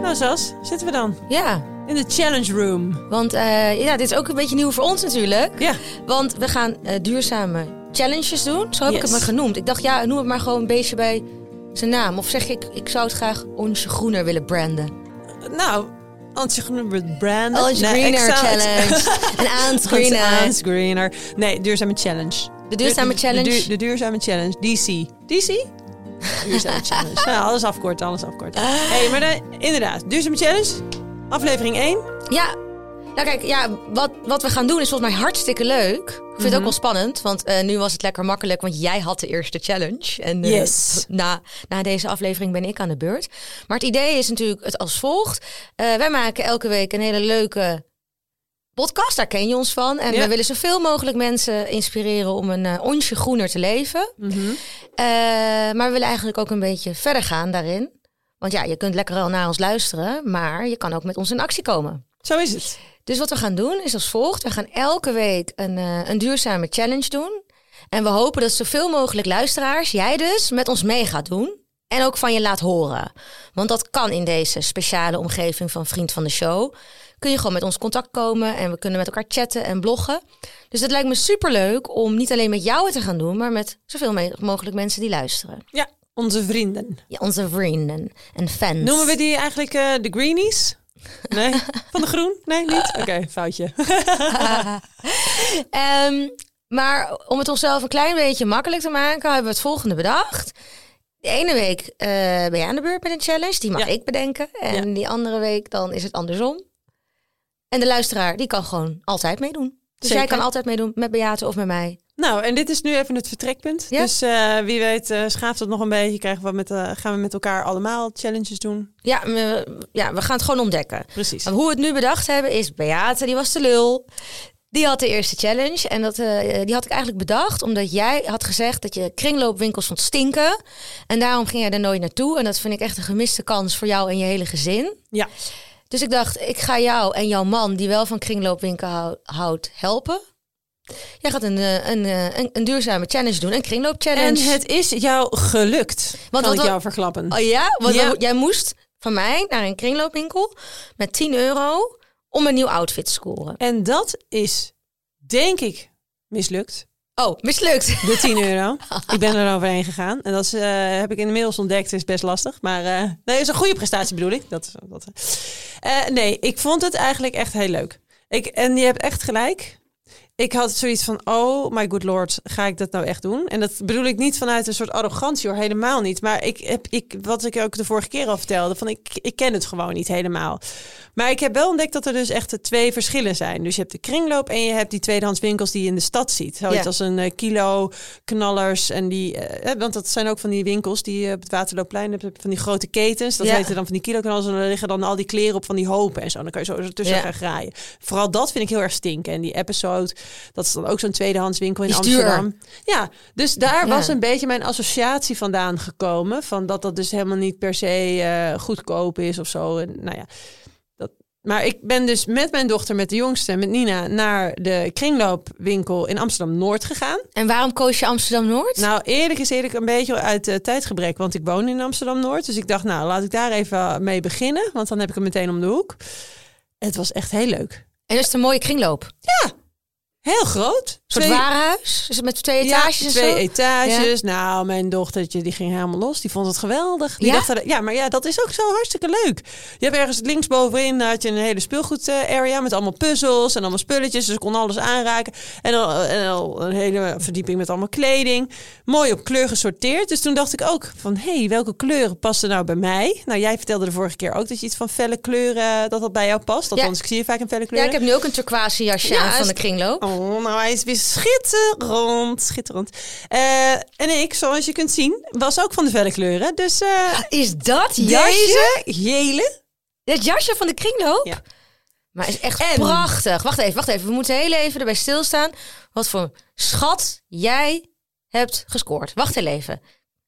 Nou, Sas, zitten we dan Ja, in de challenge room. want eh, ja, dit is ook een beetje nieuw voor ons natuurlijk. Ja, Want we gaan eh, duurzame challenges doen. Zo heb ik Yes. het maar genoemd. Ik dacht, ja, noem het maar gewoon een beestje bij zijn naam. Of zeg ik, ik zou het graag Onsje Groener willen branden. nou, Antje Groener brand. Onsje Greener Challenge. een Aans Greener. Hans Greener. Nee, duurzame challenge. De duurzame Du- challenge. De, duur- de duurzame challenge. DC. DC? Duurzame challenge. Nou, alles afkorten, alles afkorten. Ah. hey, maar de- inderdaad, duurzame challenge. Aflevering 1. Ja, nou kijk, ja, wat, wat we gaan doen is volgens mij hartstikke leuk. Ik vind het Mhm. ook wel spannend, want eh, nu was het lekker makkelijk, want jij had de eerste challenge. En eh, Yes. na, na deze aflevering ben ik aan de beurt. Maar het idee is natuurlijk het als volgt. Eh, wij maken elke week een hele leuke podcast, daar ken je ons van. En Ja. we willen zoveel mogelijk mensen inspireren om een eh, onsje groener te leven. Mhm. Eh, maar we willen eigenlijk ook een beetje verder gaan daarin. Want ja, je kunt lekker al naar ons luisteren, maar je kan ook met ons in actie komen. Zo is het. Dus wat we gaan doen is als volgt. We gaan elke week een, eh, een duurzame challenge doen. En we hopen dat zoveel mogelijk luisteraars, jij dus, met ons mee gaat doen. En ook van je laat horen. Want dat kan in deze speciale omgeving van Vriend van de Show. Kun je gewoon met ons in contact komen en we kunnen met elkaar chatten en bloggen. Dus het lijkt me superleuk om niet alleen met jou het te gaan doen, maar met zoveel me- mogelijk mensen die luisteren. Ja, onze vrienden. Ja, onze vrienden en fans. Noemen we die eigenlijk eh, de greenies? Nee, van de groen? Nee, niet? Oké, foutje. Ehm, maar om het onszelf een klein beetje makkelijk te maken, hebben we het volgende bedacht. De ene week eh, ben je aan de beurt met een challenge, die mag Ja. ik bedenken. En Ja. die andere week dan is het andersom. En de luisteraar die kan gewoon altijd meedoen. Dus Zeker. jij kan altijd meedoen met Beate of met mij. Nou, en dit is nu even het vertrekpunt. Ja. Dus eh, wie weet eh, schaaft het nog een beetje. Krijgen we met, eh, gaan we met elkaar allemaal challenges doen. Ja we, ja, we gaan het gewoon ontdekken. Precies. Maar hoe we het nu bedacht hebben is, Beate die was de lul. Die had de eerste challenge en dat, eh, die had ik eigenlijk bedacht omdat jij had gezegd dat je kringloopwinkels vond stinken. En daarom ging jij er nooit naartoe en dat vind ik echt een gemiste kans voor jou en je hele gezin. Ja, Dus ik dacht, ik ga jou en jouw man die wel van kringloopwinkel hou- houdt helpen. Jij gaat een, eh, een, eh, een, een duurzame challenge doen, een kringloopchallenge. en het is jou gelukt. kan wat- ik wat- jou verklappen. Oh ja? Want Ja. dan- jij moest van mij naar een kringloopwinkel met 10 euro om een nieuw outfit te scoren. En dat is, denk ik, mislukt. Oh, mislukt. De 10 euro. ik ben er overheen gegaan. En dat is, eh, heb ik inmiddels ontdekt. is best lastig. Maar eh nee, is een goede prestatie bedoel ik. Dat is, dat, eh. Eh, nee, ik vond het eigenlijk echt heel leuk. Ik, en je hebt echt gelijk. Ik had zoiets van, oh my good lord, ga ik dat nou echt doen? En dat bedoel ik niet vanuit een soort arrogantie hoor, helemaal niet. Maar ik heb, ik, wat ik ook de vorige keer al vertelde, van ik, ik ken het gewoon niet helemaal. Maar ik heb wel ontdekt dat er dus echt eh, twee verschillen zijn. Dus je hebt de kringloop en je hebt die tweedehands winkels die je in de stad ziet. Zoiets Ja. als een eh, kilo, knallers en die... eh, want dat zijn ook van die winkels die je op het Waterloopplein hebt, van die grote ketens. Dat Ja. heten dan van die kilo knallers en daar liggen dan al die kleren op van die hopen en zo. En dan kan je zo ertussen Ja. gaan graaien. Vooral dat vind ik heel erg stinken. En die episode, dat is dan ook zo'n tweedehands winkel in Die is duur. Amsterdam. Ja, dus daar Ja. was een beetje mijn associatie vandaan gekomen. Van dat dat dus helemaal niet per se eh, goedkoop is of zo. En, nou ja, dat, maar ik ben dus met mijn dochter, met de jongste, met Nina... naar de kringloopwinkel in Amsterdam-Noord gegaan. En waarom koos je Amsterdam-Noord? Nou, eerlijk is eerlijk een beetje uit eh, tijdgebrek. Want ik woon in Amsterdam-Noord. Dus ik dacht, nou, laat ik daar even mee beginnen. Want dan heb ik hem meteen om de hoek. Het was echt heel leuk. en is het een mooie kringloop? Een Heel groot. soort Twee- warenhuis? Is het met twee etages ja, en twee zo? etages. Nou, mijn dochtertje die ging helemaal los. Die vond het geweldig. Die Ja? dacht, er- ja, maar ja, dat is ook zo hartstikke leuk. Je hebt ergens linksbovenin had je een hele speelgoed eh, area met allemaal puzzels en allemaal spulletjes. Dus ik kon alles aanraken. En al, en al een hele verdieping met allemaal kleding. Mooi op kleur gesorteerd. Dus toen dacht ik ook van, hé, hey, welke kleuren passen nou bij mij? Nou, jij vertelde de vorige keer ook dat je iets van felle kleuren, eh, dat dat bij jou past. Althans, ik zie je vaak in felle ja, kleuren. ik heb nu ook een turquoise jasje Ja, aan van is- de kringloop. Oh, nou hij is weer schitterend, schitterend. Eh, en ik, zoals je kunt zien, was ook van de felle kleuren. Dus eh Is dat jasje? deze gele. Dat jasje van de kringloop? Ja. Maar is echt En- prachtig. Wacht even, wacht even. We moeten heel even erbij stilstaan. Wat voor schat jij hebt gescoord. Wacht heel even.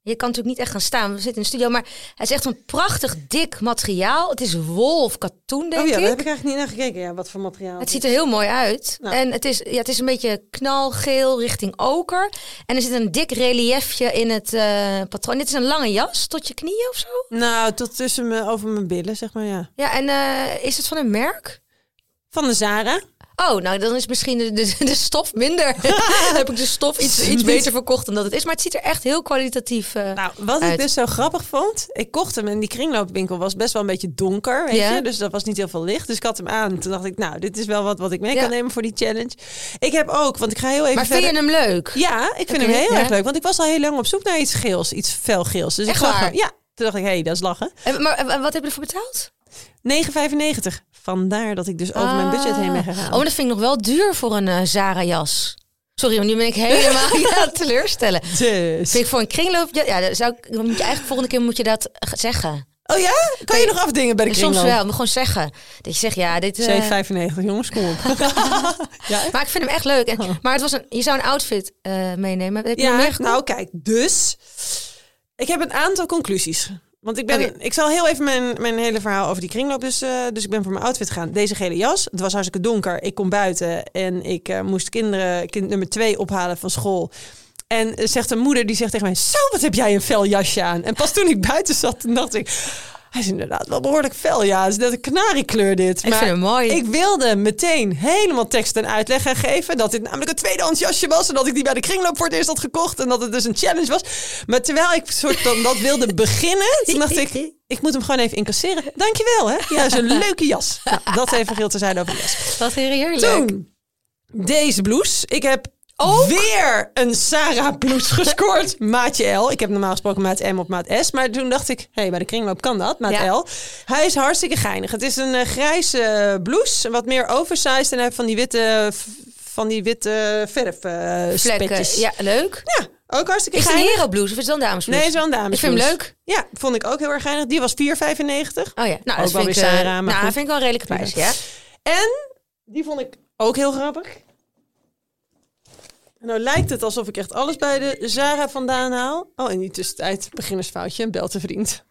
Je kan natuurlijk niet echt gaan staan. We zitten in de studio. Maar het is echt een prachtig dik materiaal. Het is wol of katoen, denk oh ja, daar ik. heb ik eigenlijk niet naar gekeken. Ja, wat voor materiaal. Het ziet er heel mooi uit. Nou. En het is, ja, het is een beetje knalgeel richting oker. En er zit een dik reliefje in het eh, patroon. Dit is een lange jas tot je knieën of zo. Nou, tot tussen me, over mijn billen, zeg maar, ja. Ja, en eh, is het van een merk? Van de Zara. Oh, nou dan is misschien de, de, de stof minder. dan heb ik de stof iets, iets beter verkocht dan dat het is. Maar het ziet er echt heel kwalitatief eh Nou, wat ik uit. dus zo grappig vond, ik kocht hem en die kringloopwinkel was best wel een beetje donker, weet Ja. je, dus dat was niet heel veel licht. Dus ik had hem aan. Toen dacht ik, nou, dit is wel wat wat ik mee Ja. kan nemen voor die challenge. Ik heb ook, want ik ga heel even Maar vind verder. je hem leuk? Ja, ik vind Oké, hem heel ja. erg leuk, want ik was al heel lang op zoek naar iets geels, iets felgeels. Dus Echt ik zag waar? hem. Ja, toen dacht ik, hé, hey, dat is lachen. En, maar en wat heb je ervoor betaald? 9,95. Vandaar dat ik dus over mijn budget heen ben Ah. gegaan. Oh, maar dat vind ik nog wel duur voor een eh, Zara-jas. Sorry, maar nu ben ik helemaal ja, teleurstellen. Dus. Vind ik voor een kringloop... Ja, ja, dat zou ik, dan moet je eigenlijk volgende keer moet je dat g- zeggen. Oh ja? Kan je nog afdingen bij de kringloop? Soms wel, maar gewoon zeggen. Dat je zegt, ja, dit... eh, 7,95, jongens, kom op. ja, maar ik vind hem echt leuk. En, maar het was een, je zou een outfit eh, meenemen. Heb je nog Oh. Ja, meer gekocht? nou kijk, dus ik heb een aantal conclusies. Want ik, ben, Oké. ik zal heel even mijn, mijn hele verhaal over die kringloop. Dus, eh, dus ik ben voor mijn outfit gaan. Deze gele jas. Het was hartstikke donker. Ik kom buiten en ik eh, moest kinderen, kind nummer twee ophalen van school. En eh, zegt een moeder die zegt tegen mij: Zo, wat heb jij een fel jasje aan? En pas toen ik buiten zat, toen dacht ik. Hij is inderdaad wel behoorlijk fel, ja. Het is net een kanariekleur dit. Ik vind hem mooi. Ik wilde meteen helemaal tekst en uitleg gaan geven. Dat dit namelijk een tweedehands jasje was. En dat ik die bij de kringloop voor het eerst had gekocht. En dat het dus een challenge was. Maar terwijl ik soort van dat wilde beginnen. Toen dacht ik, ik moet hem gewoon even incasseren. Dankjewel hè. Ja, is een leuke jas. Nou, dat even geheel te zijn over de jas. Wat heerlijk. Toen, deze blouse. Ik heb weer een Sarah blouse gescoord. maatje L. Ik heb normaal gesproken maat M op maat S. Maar toen dacht ik, hé, hey, bij de kringloop kan dat, maat Ja. L. Hij is hartstikke geinig. Het is een eh, grijze eh, blouse. Wat meer oversized. En hij heeft van die witte, van die witte verf eh, spetjes. Vlekken. Ja, leuk. Ja, ook hartstikke Is het een geinig. herenblouse of is het dan damesblouse? Nee, het is wel een dames. Ik vind hem leuk. Ja, vond ik ook heel erg geinig. Die was 4,95. Oh ja, nou, Ook dat wel vind ik, weer eh, Zara, maar nou, goed. vind ik wel een redelijke prijs, ja. En die vond ik ook heel grappig. En Nou lijkt het alsof ik echt alles bij de Zara vandaan haal. Oh, en die tussentijd beginnersfoutje en belt een vriend.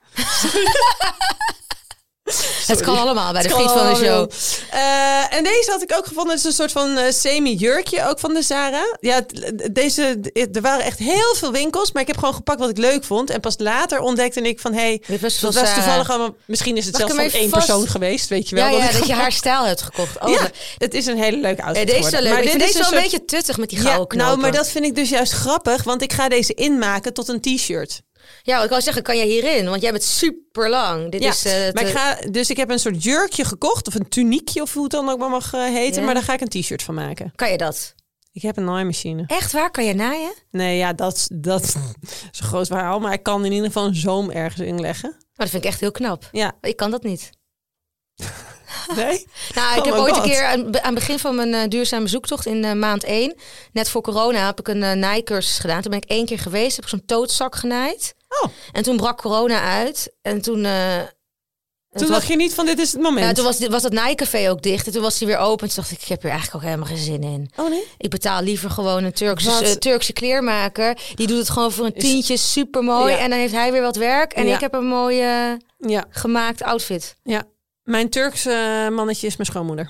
Het kan allemaal bij de Kan fiets van de show. Eh, en deze had ik ook gevonden. Het is een soort van eh, semi-jurkje, ook van de Zara. Ja, het- deze, eh, er waren echt heel veel winkels, maar ik heb gewoon gepakt wat ik leuk vond. En pas later ontdekte ik van, hé, hey, Dit was dat van was Zara. toevallig allemaal... Misschien is het eh, Mag ik zelfs hem van even één vast- persoon geweest, weet je wel. Ja, wat ja ik dat je gehad- haar stijl hebt gekocht. Oh, ja, dat- het is een hele leuke Eh, outfit deze is wel geworden. leuk. ik vind deze dus een wel een soort- beetje tuttig met die gouden knopen. nou, maar dat vind ik dus juist grappig, want ik ga deze inmaken tot een t-shirt. Ja, ik wou zeggen, kan jij hierin? Want jij bent super lang. Dit Ja, is, eh, maar te- ik ga, dus ik heb een soort jurkje gekocht, of een tuniekje, of hoe het dan ook maar mag eh, heten. Ja. Maar daar ga ik een t-shirt van maken. Kan je dat? Oh, Ik heb een naaimachine. Echt waar? Kan je naaien? Nee, ja, dat, dat is een groot verhaal, maar ik kan in ieder geval een zoom ergens inleggen. Maar dat vind ik echt heel knap. Ja, Ik kan dat niet. nee? Nou, Oh ik heb my ooit een God. keer aan, be- aan het begin van mijn eh, duurzame zoektocht in eh, maand 1, net voor corona, heb ik een eh, naaikursus gedaan. Toen ben ik één keer geweest, heb ik zo'n tootzak genaaid. Oh. En toen brak corona uit. En toen. eh, en Toen was- dacht je niet van dit is het moment. Nou, toen was, dit- was dat naaicafé ook dicht. En toen was die weer open. Toen dacht ik, ik heb hier eigenlijk ook helemaal geen zin in. Oh nee? Ik betaal liever gewoon een Turkse, Wat? eh, Turkse kleermaker. Die doet het gewoon voor een Is- tientje. Super mooi. Ja. En dan heeft hij weer wat werk. En Ja. ik heb een mooie eh, Ja, gemaakt outfit. ja. Mijn Turkse eh, mannetje is mijn schoonmoeder.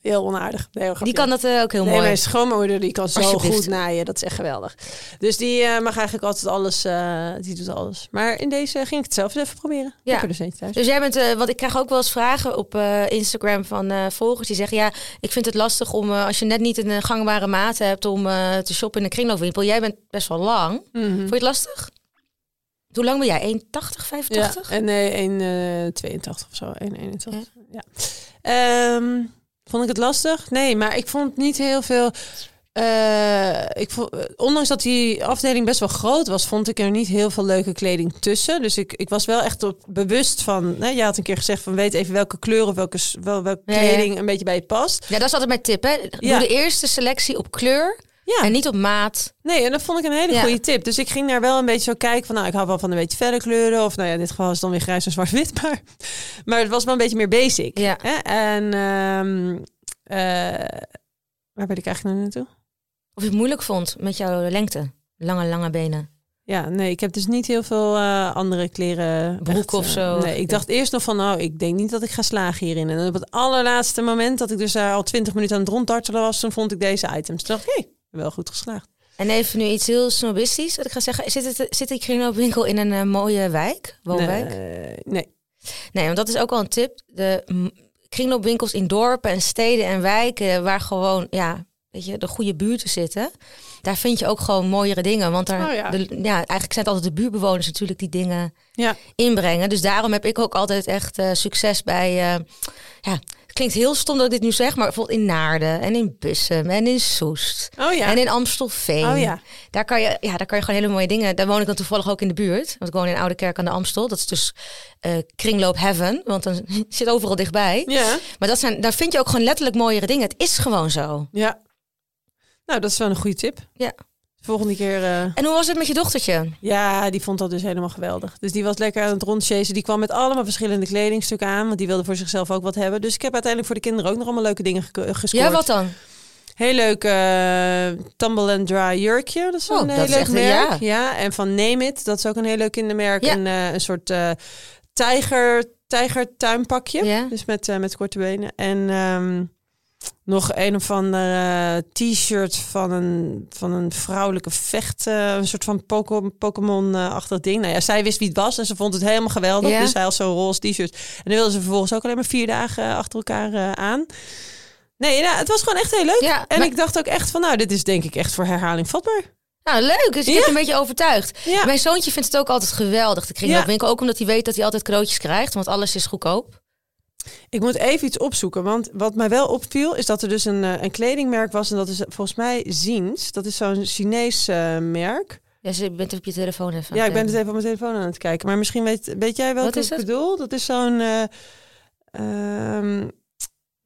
Heel onaardig. Nee, heel Die grapje. kan dat eh, ook heel Nee, mooi. mijn schoonmoeder die kan zo Alsjeblieft. goed naaien. Dat is echt geweldig. Dus die eh, mag eigenlijk altijd alles. eh, die doet alles. Maar in deze eh, ging ik het zelf eens even proberen. Ik Ja. heb er dus eentje thuis. Dus jij bent, eh, want ik krijg ook wel eens vragen op eh, Instagram van eh, volgers die zeggen: Ja, ik vind het lastig om, eh, als je net niet een eh, gangbare maat hebt, om eh, te shoppen in een kringloopwinkel. Jij bent best wel lang. Mhm. Vond je het lastig? Hoe lang ben jij? 1,80, 85? Ja, en nee, 182 of zo. 181. Ja. Ehm, vond ik het lastig? Nee, maar ik vond niet heel veel. eh, ik vond, eh, ondanks dat die afdeling best wel groot was, vond ik er niet heel veel leuke kleding tussen. Dus ik, ik was wel echt op, bewust van. Hè, je had een keer gezegd van weet even welke kleur of welke, s- wel, welke Ja, ja. kleding een beetje bij je past. Ja, dat is altijd mijn tip. Hè? Ja. Doe de eerste selectie op kleur Ja. en niet op maat. Nee, en dat vond ik een hele Ja. goede tip. Dus ik ging daar wel een beetje zo kijken van, nou, ik hou wel van een beetje felle kleuren. Of nou ja, in dit geval is het dan weer grijs en zwart-wit. Maar, maar het was wel een beetje meer basic. Ja. Hè? En ehm, eh, waar ben ik eigenlijk nou naartoe? Of je het moeilijk vond met jouw lengte. Lange, lange benen. Ja, nee, ik heb dus niet heel veel eh, andere kleren. Broek echt, of eh, zo. Nee, ik dacht eerst nog van, nou, ik denk niet dat ik ga slagen hierin. En op het allerlaatste moment dat ik dus daar al twintig minuten aan het ronddartelen was, toen vond ik deze items. Toen dacht ik, hey, wel goed geslaagd. En even nu iets heel snobistisch. Wat ik ga zeggen, zit, het, zit die kringloopwinkel in een eh, mooie wijk, woonwijk? Nee. Nee, eh, nee. want dat is ook wel een tip. De mm, kringloopwinkels in dorpen en steden en wijken waar gewoon, ja, weet je, de goede buurten zitten. Daar vind je ook gewoon mooiere dingen. Want daar, Oh ja. de- ja, eigenlijk zijn het altijd de buurtbewoners natuurlijk die dingen Ja, inbrengen. Dus daarom heb ik ook altijd echt eh, succes bij. eh, ja, het klinkt heel stom dat ik dit nu zeg, maar bijvoorbeeld in Naarden en in Bussum en in Soest. oh ja. En in Amstelveen. Oh ja. Daar, kan je, ja, daar kan je gewoon hele mooie dingen. Daar woon ik dan toevallig ook in de buurt. Want ik woon in Oude Kerk aan de Amstel. Dat is dus eh, kringloop heaven. Want dan zit overal dichtbij. Ja. Maar dat zijn, daar vind je ook gewoon letterlijk mooiere dingen. Het is gewoon zo. ja. Nou, dat is wel een goede tip. Ja. Volgende keer... eh, En hoe was het met je dochtertje? Ja, die vond dat dus helemaal geweldig. Dus die was lekker aan het rondchasen. Die kwam met allemaal verschillende kledingstukken aan. Want die wilde voor zichzelf ook wat hebben. Dus ik heb uiteindelijk voor de kinderen ook nog allemaal leuke dingen geko- gescoord. Ja, wat dan? Heel leuk eh, Tumble and Dry jurkje. Dat is Oh, een dat heel is leuk echt een merk. ja. en van Name It. Dat is ook een heel leuk kindermerk. Ja. En eh, een soort eh, tijger, tijgertuinpakje. Ja. Dus met, eh, met korte benen. En ehm, nog een of ander t-shirt van een, van een vrouwelijke vecht. eh, een soort van Poke- Pokémon-achtig ding. Nou ja, zij wist wie het was en ze vond het helemaal geweldig. Ja. Dus zij had zo'n roze t-shirt. En dan wilde ze vervolgens ook alleen maar vier dagen eh, achter elkaar eh, aan. Nee, nou, het was gewoon echt heel leuk. Ja, En maar- ik dacht ook echt van, nou, dit is denk ik echt voor herhaling vatbaar. Nou, leuk. Dus je Ja. hebt een beetje overtuigd. Ja. Mijn zoontje vindt het ook altijd geweldig, de kringloopwinkel. Ook omdat hij weet dat hij altijd cadeautjes krijgt. Want alles is goedkoop. Ik moet even iets opzoeken, want wat mij wel opviel is dat er dus een, eh, een kledingmerk was en dat is volgens mij Ziens. Dat is zo'n Chinees eh, merk. Ja, ze- je bent op je telefoon even. aan eh, Ja, ik ben kijken. het even op mijn telefoon aan het kijken, maar misschien weet, weet jij wel wat Wat is ik het? bedoel. Dat is zo'n eh, ehm,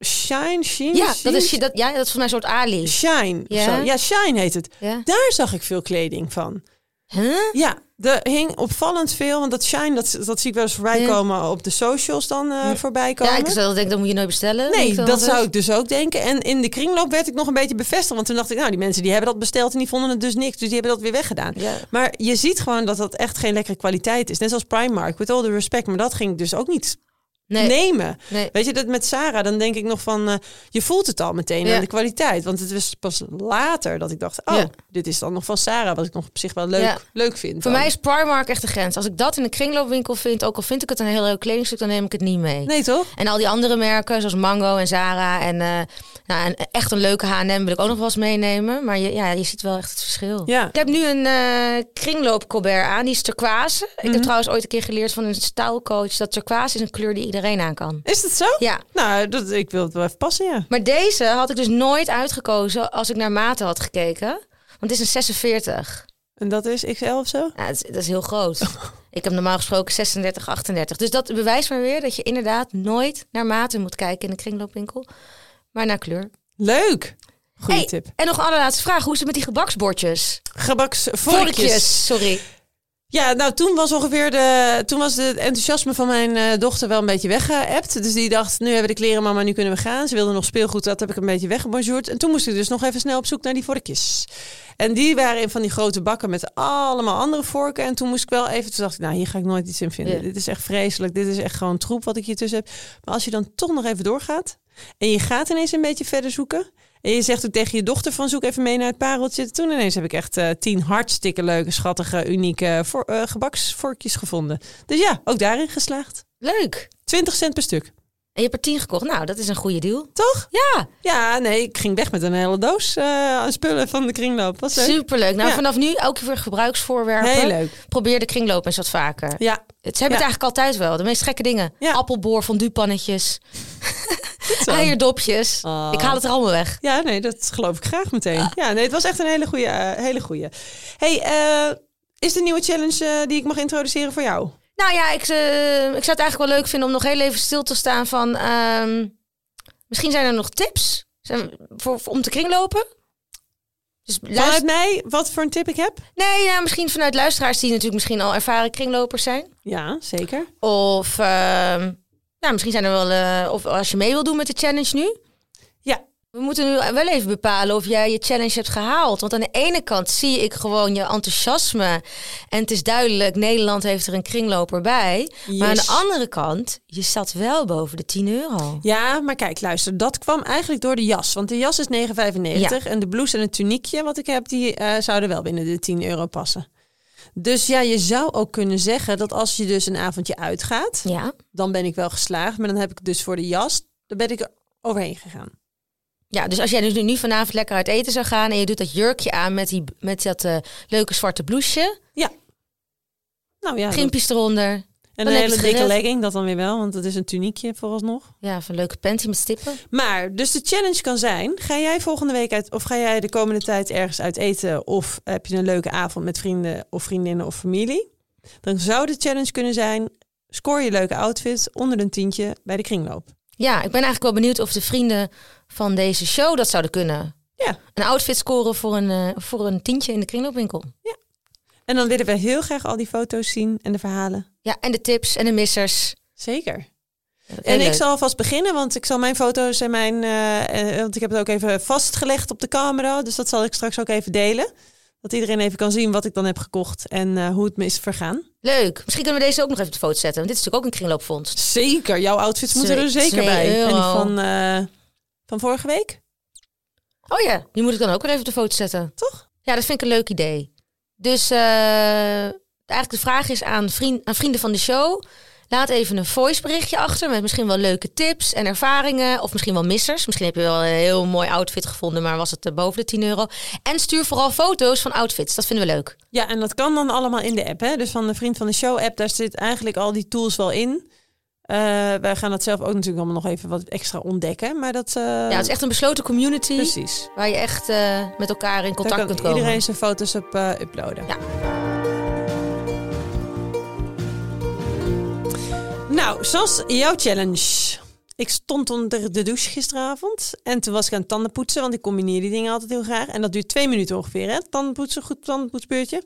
Shine, Sheen, Ja, dat is, Shein? dat, ja, dat is volgens mij een soort Ali. Shine. of Ja. zo. ja, Shine heet het. Ja. Daar zag ik veel kleding van. Huh? Ja, er hing opvallend veel. Want dat shine, dat, dat zie ik wel eens voorbij Ja. komen op de socials dan eh, voorbij komen. Ja, ik zou denk dat moet je nooit bestellen. Nee, Moet wel dat altijd. zou ik dus ook denken. En in de kringloop werd ik nog een beetje bevestigd. Want toen dacht ik, nou, die mensen die hebben dat besteld en die vonden het dus niks. Dus die hebben dat weer weggedaan. Ja. Maar je ziet gewoon dat dat echt geen lekkere kwaliteit is. Net zoals Primark, with all the respect. Maar dat ging ik dus ook niet Nee, nee. nemen. Weet je, dat met Sarah, dan denk ik nog van... eh, je voelt het al meteen Ja. aan de kwaliteit. Want het was pas later dat ik dacht... oh, Ja. dit is dan nog van Sarah. Wat ik nog op zich wel leuk, Ja. leuk vind. Voor dan. mij is Primark echt de grens. Als ik dat in een kringloopwinkel vind, ook al vind ik het een heel leuk kledingstuk, dan neem ik het niet mee. Nee, toch? En al die andere merken, zoals Mango en Zara en, eh, nou, en echt een leuke H&M wil ik ook nog wel eens meenemen. Maar je, ja, je ziet wel echt het verschil. Ja. Ik heb nu een eh kringloopcolbert aan, die is turquoise. Ik Mhm. heb trouwens ooit een keer geleerd van een staalcoach dat turquoise is een kleur die iedereen aan kan. Is dat zo? Ja, Nou, dat, ik wil het wel even passen, ja. Maar deze had ik dus nooit uitgekozen als ik naar maten had gekeken. Want het is een 46. En dat is XL of zo? Ja, dat, is, dat is heel groot. ik heb normaal gesproken 36, 38. Dus dat bewijst maar weer dat je inderdaad nooit naar maten moet kijken in een kringloopwinkel. Maar naar kleur. Leuk! Goeie Hey, tip. En nog een allerlaatste vraag. Hoe is het met die gebaksbordjes? Gebaksvorkjes. sorry. Ja, nou toen was ongeveer de, toen was het enthousiasme van mijn eh, dochter wel een beetje weggeëpt. Dus die dacht, nu hebben we de kleren mama, nu kunnen we gaan. Ze wilde nog speelgoed, dat heb ik een beetje weggebonjourd. En toen moest ik dus nog even snel op zoek naar die vorkjes. En die waren in van die grote bakken met allemaal andere vorken. En toen moest ik wel even, toen dacht ik, nou hier ga ik nooit iets in vinden. Ja. Dit is echt vreselijk, dit is echt gewoon troep wat ik hier tussen heb. Maar als je dan toch nog even doorgaat en je gaat ineens een beetje verder zoeken... En je zegt ook tegen je dochter van zoek even mee naar het pareltje. Toen ineens heb ik echt eh, tien hartstikke leuke, schattige, unieke voor, eh, gebaksvorkjes gevonden. Dus ja, ook daarin geslaagd. Leuk. 20 cent per stuk. En je hebt er 10 gekocht. Nou, dat is een goede deal. Toch? Ja, Ja, nee, ik ging weg met een hele doos eh, aan spullen van de kringloop. Was leuk. superleuk. Nou, Ja. vanaf nu elke keer weer gebruiksvoorwerpen. Heel leuk. Probeer de kringloop eens wat vaker. Ja, Het- Ze hebben Ja. het eigenlijk altijd wel. De meest gekke dingen. Ja. Appelboor, fonduepannetjes, zo. eierdopjes. Oh. Ik haal het Ah. er allemaal weg. Ja, nee, dat geloof ik graag meteen. Ja, nee, het was echt een hele goede. hele goeie. Hey, eh, is de nieuwe challenge eh, die ik mag introduceren voor jou? Nou ja, ik, eh, ik zou het eigenlijk wel leuk vinden om nog heel even stil te staan van... ehm, misschien zijn er nog tips zijn, voor, voor- om te kringlopen? Dus Vanuit luister, mij, wat voor een tip ik heb? nee, nou, misschien vanuit luisteraars die natuurlijk misschien al ervaren kringlopers zijn. Ja, zeker. Of ehm, nou, misschien zijn er wel... eh, of als je mee wil doen met de challenge nu. Ja, We moeten nu wel even bepalen of jij je challenge hebt gehaald. Want aan de ene kant zie ik gewoon je enthousiasme. En het is duidelijk, Nederland heeft er een kringloper bij. Maar aan Yes. de andere kant, je staat wel boven de 10 euro. Ja, maar kijk, luister, dat kwam eigenlijk door de jas. Want de jas is 9,95 en de blouse en het tuniekje wat ik heb, die eh, zouden wel binnen de 10 euro passen. Dus ja, je zou ook kunnen zeggen dat als je dus een avondje uitgaat, Ja. dan ben ik wel geslaagd. Maar dan heb ik dus voor de jas, daar ben ik er overheen gegaan. Ja, dus als jij dus nu, nu vanavond lekker uit eten zou gaan en je doet dat jurkje aan met, die, met dat eh, leuke zwarte blouseje, Nou ja, dat- krimpjes eronder. en dan een heb je hele het dikke gered. legging, dat dan weer wel, want dat is een tuniekje vooralsnog. Ja, van leuke panty met stippen. Maar, dus de challenge kan zijn, ga jij volgende week uit, of ga jij de komende tijd ergens uit eten, of heb je een leuke avond met vrienden of vriendinnen of familie? Dan zou de challenge kunnen zijn, score je leuke outfit onder een tientje bij de kringloop. Ja, ik ben eigenlijk wel benieuwd of de vrienden van deze show dat zouden kunnen. Ja. Een outfit scoren voor een, eh, voor een tientje in de kringloopwinkel. En dan willen we heel graag al die foto's zien en de verhalen. Ja, en de tips en de missers. Zeker. Heel En ik leuk. zal alvast beginnen, want ik zal mijn foto's en mijn. eh, eh, want ik heb het ook even vastgelegd op de camera. Dus dat zal ik straks ook even delen. Dat iedereen even kan zien wat ik dan heb gekocht en eh, hoe het me is vergaan. Leuk. Misschien kunnen we deze ook nog even op de foto zetten. Want dit is natuurlijk ook een kringloopfonds. Zeker, jouw outfits moeten Twee- er zeker twee bij. En die euro. van, eh, van vorige week, Oh ja, die moet ik dan ook weer even op de foto zetten. toch? Ja, dat vind ik een leuk idee. Dus eh, eigenlijk de vraag is aan, vriend, aan vrienden van de show. Laat even een voice berichtje achter met misschien wel leuke tips en ervaringen. Of misschien wel missers. Misschien heb je wel een heel mooi outfit gevonden, maar was het eh, boven de 10 euro. En stuur vooral foto's van outfits. Dat vinden we leuk. Ja, en dat kan dan allemaal in de app. Hè? Dus van de Vriend van de Show app, daar zit eigenlijk al die tools wel in. Eh, wij gaan dat zelf ook natuurlijk allemaal nog even wat extra ontdekken. Maar dat... eh, Ja, het is echt een besloten community Precies. waar je echt eh, met elkaar in contact Daar kunt kan komen. iedereen zijn foto's op eh, uploaden. Ja. Nou, Sas, jouw challenge. Ik stond onder de douche gisteravond en toen was ik aan het tanden poetsen, want ik combineer die dingen altijd heel graag. En dat duurt twee minuten ongeveer, hè? Tandenpoetsen, goed tandenpoetsbeurtje.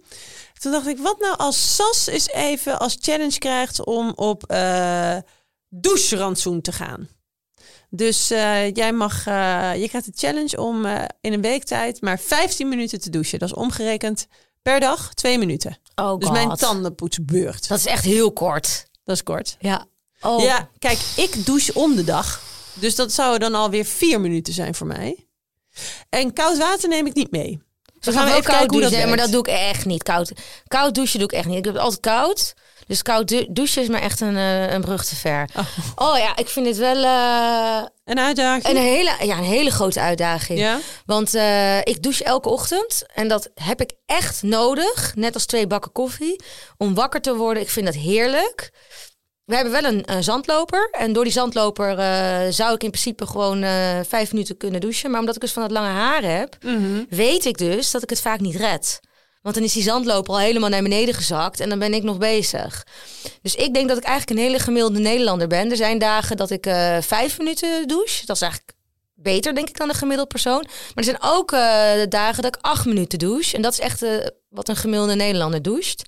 Toen dacht ik, wat nou als Sas eens even als challenge krijgt om op eh doucherantsoen te gaan? Dus eh, jij mag, eh, je krijgt de challenge om eh, in een week tijd maar 15 minuten te douchen. Dat is omgerekend per dag 2 minuten. Oh god. Dus mijn tandenpoetsbeurt. Dat is echt heel kort. Dat is kort. Ja. Oh. Ja, kijk, ik douche om de dag. Dus dat zou dan alweer 4 minuten zijn voor mij. En koud water neem ik niet mee. Ze Dan gaan wel koud douchen, hè, maar werkt. dat doe ik echt niet. Koud, koud douchen doe ik echt niet. Ik heb het altijd koud. Dus koud dou- douchen is maar echt een, eh, een brug te ver. Oh. Oh. ja, ik vind dit wel eh, Een uitdaging. een, hele, ja, een hele grote uitdaging. ja? Want eh, ik douche elke ochtend. En dat heb ik echt nodig. Net als twee bakken koffie. Om wakker te worden. Ik vind dat heerlijk. We hebben wel een, eh, zandloper. En door die zandloper eh, zou ik in principe gewoon eh, vijf minuten kunnen douchen. Maar omdat ik dus van dat lange haar heb, Mhm. weet ik dus dat ik het vaak niet red. Want dan is die zandloper al helemaal naar beneden gezakt en dan ben ik nog bezig. Dus ik denk dat ik eigenlijk een hele gemiddelde Nederlander ben. Er zijn dagen dat ik eh, vijf minuten douche. Dat is eigenlijk beter, denk ik, dan een gemiddeld persoon. Maar er zijn ook eh, dagen dat ik acht minuten douche. En dat is echt eh, wat een gemiddelde Nederlander doucht.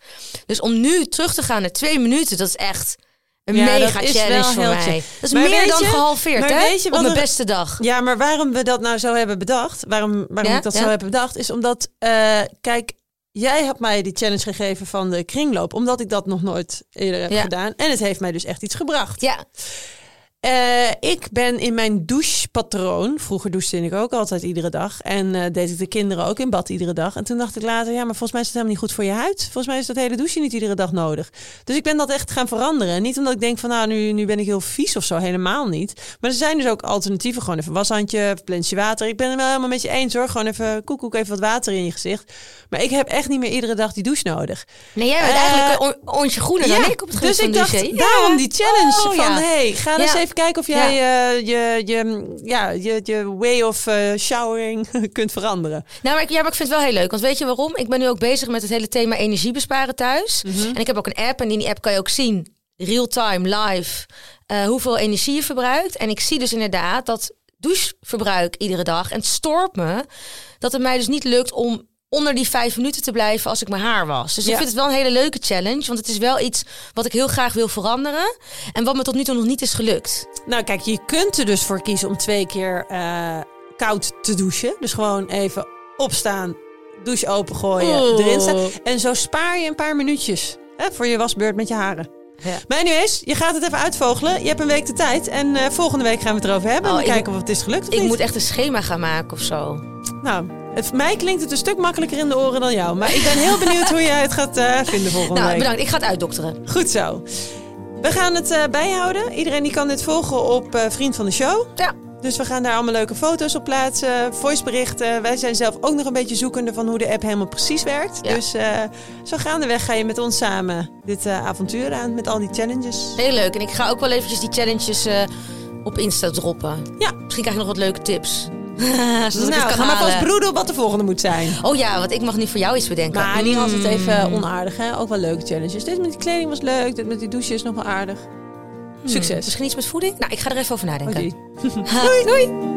Dus om nu terug te gaan naar twee minuten, dat is echt een Ja, dat mega is challenge wel voor heel mij. chill. Dat is Maar meer weet dan je- gehalveerd, maar hè? weet je Op wat mijn er- beste dag. Ja, maar waarom we dat nou zo hebben bedacht, waarom, waarom Ja, ik dat ja. zo heb bedacht, is omdat, eh, kijk, jij hebt mij die challenge gegeven van de kringloop, omdat ik dat nog nooit eerder heb Ja. gedaan. En het heeft mij dus echt iets gebracht. Ja, Eh, ik ben in mijn douchepatroon, vroeger douchte ik ook altijd iedere dag, en eh, deed ik de kinderen ook in bad iedere dag. En toen dacht ik later, ja, maar volgens mij is dat helemaal niet goed voor je huid. Volgens mij is dat hele douche niet iedere dag nodig. Dus ik ben dat echt gaan veranderen. En Niet omdat ik denk van, nou, nu, nu ben ik heel vies of zo, helemaal niet. Maar er zijn dus ook alternatieven. Gewoon even washandje, een plensje water. Ik ben het wel helemaal met je eens hoor. Gewoon even koekoek, even wat water in je gezicht. Maar ik heb echt niet meer iedere dag die douche nodig. nee, jij bent Eh, eigenlijk een on- ontje groener Oh, nou, dan ik op het gebied dus ik van dacht, douchen. Ja. daarom die challenge Oh, van, ja. hey, ga Ja. eens even kijken of jij eh, je, je, ja, je, je way of eh, showering kunt veranderen. Nou, maar ik, ja, maar ik vind het wel heel leuk. Want weet je waarom? Ik ben nu ook bezig met het hele thema energie besparen thuis. Mhm. En ik heb ook een app. En in die app kan je ook zien, real-time, live, eh, hoeveel energie je verbruikt. En ik zie dus inderdaad dat doucheverbruik iedere dag. En het stoort me dat het mij dus niet lukt om onder die vijf minuten te blijven als ik mijn haar was. Dus Ja. ik vind het wel een hele leuke challenge. Want het is wel iets wat ik heel graag wil veranderen. En wat me tot nu toe nog niet is gelukt. Nou, kijk, je kunt er dus voor kiezen om twee keer eh, koud te douchen. Dus gewoon even opstaan, douche opengooien, Oeh. Oh erin staan. En zo spaar je een paar minuutjes hè, voor je wasbeurt met je haren. Ja. Maar anyways, je gaat het even uitvogelen. Je hebt een week de tijd. En eh, volgende week gaan we het erover hebben. Oh, en ik- kijken of het is gelukt of Ik niet. moet echt een schema gaan maken of zo. Nou, het, mij klinkt het een stuk makkelijker in de oren dan jou. Maar ik ben heel benieuwd hoe jij het gaat eh, vinden volgende Nou, week. bedankt. Ik ga het uitdokteren. Goed zo. We gaan het eh, bijhouden. Iedereen die kan dit volgen op eh, Vriend van de Show. Ja. Dus we gaan daar allemaal leuke foto's op plaatsen, voiceberichten. Wij zijn zelf ook nog een beetje zoekende van hoe de app helemaal precies werkt. Ja. Dus eh, zo gaandeweg ga je met ons samen dit eh, avontuur aan met al die challenges. Heel leuk. En ik ga ook wel eventjes die challenges eh, op Insta droppen. Ja. Misschien krijg je nog wat leuke tips. Zodat Dus ik het nou, kan ga maar vast halen. broeden op wat de volgende moet zijn. Oh ja, want ik mag nu voor jou iets bedenken. Maar niet altijd Mm. even onaardig, hè? Ook wel leuke challenges. Dit met die kleding was leuk, dit met die douche is nog wel aardig. Hmm. Succes. Misschien iets met voeding? Nou, ik ga er even over nadenken. Oké. Ha. Doei.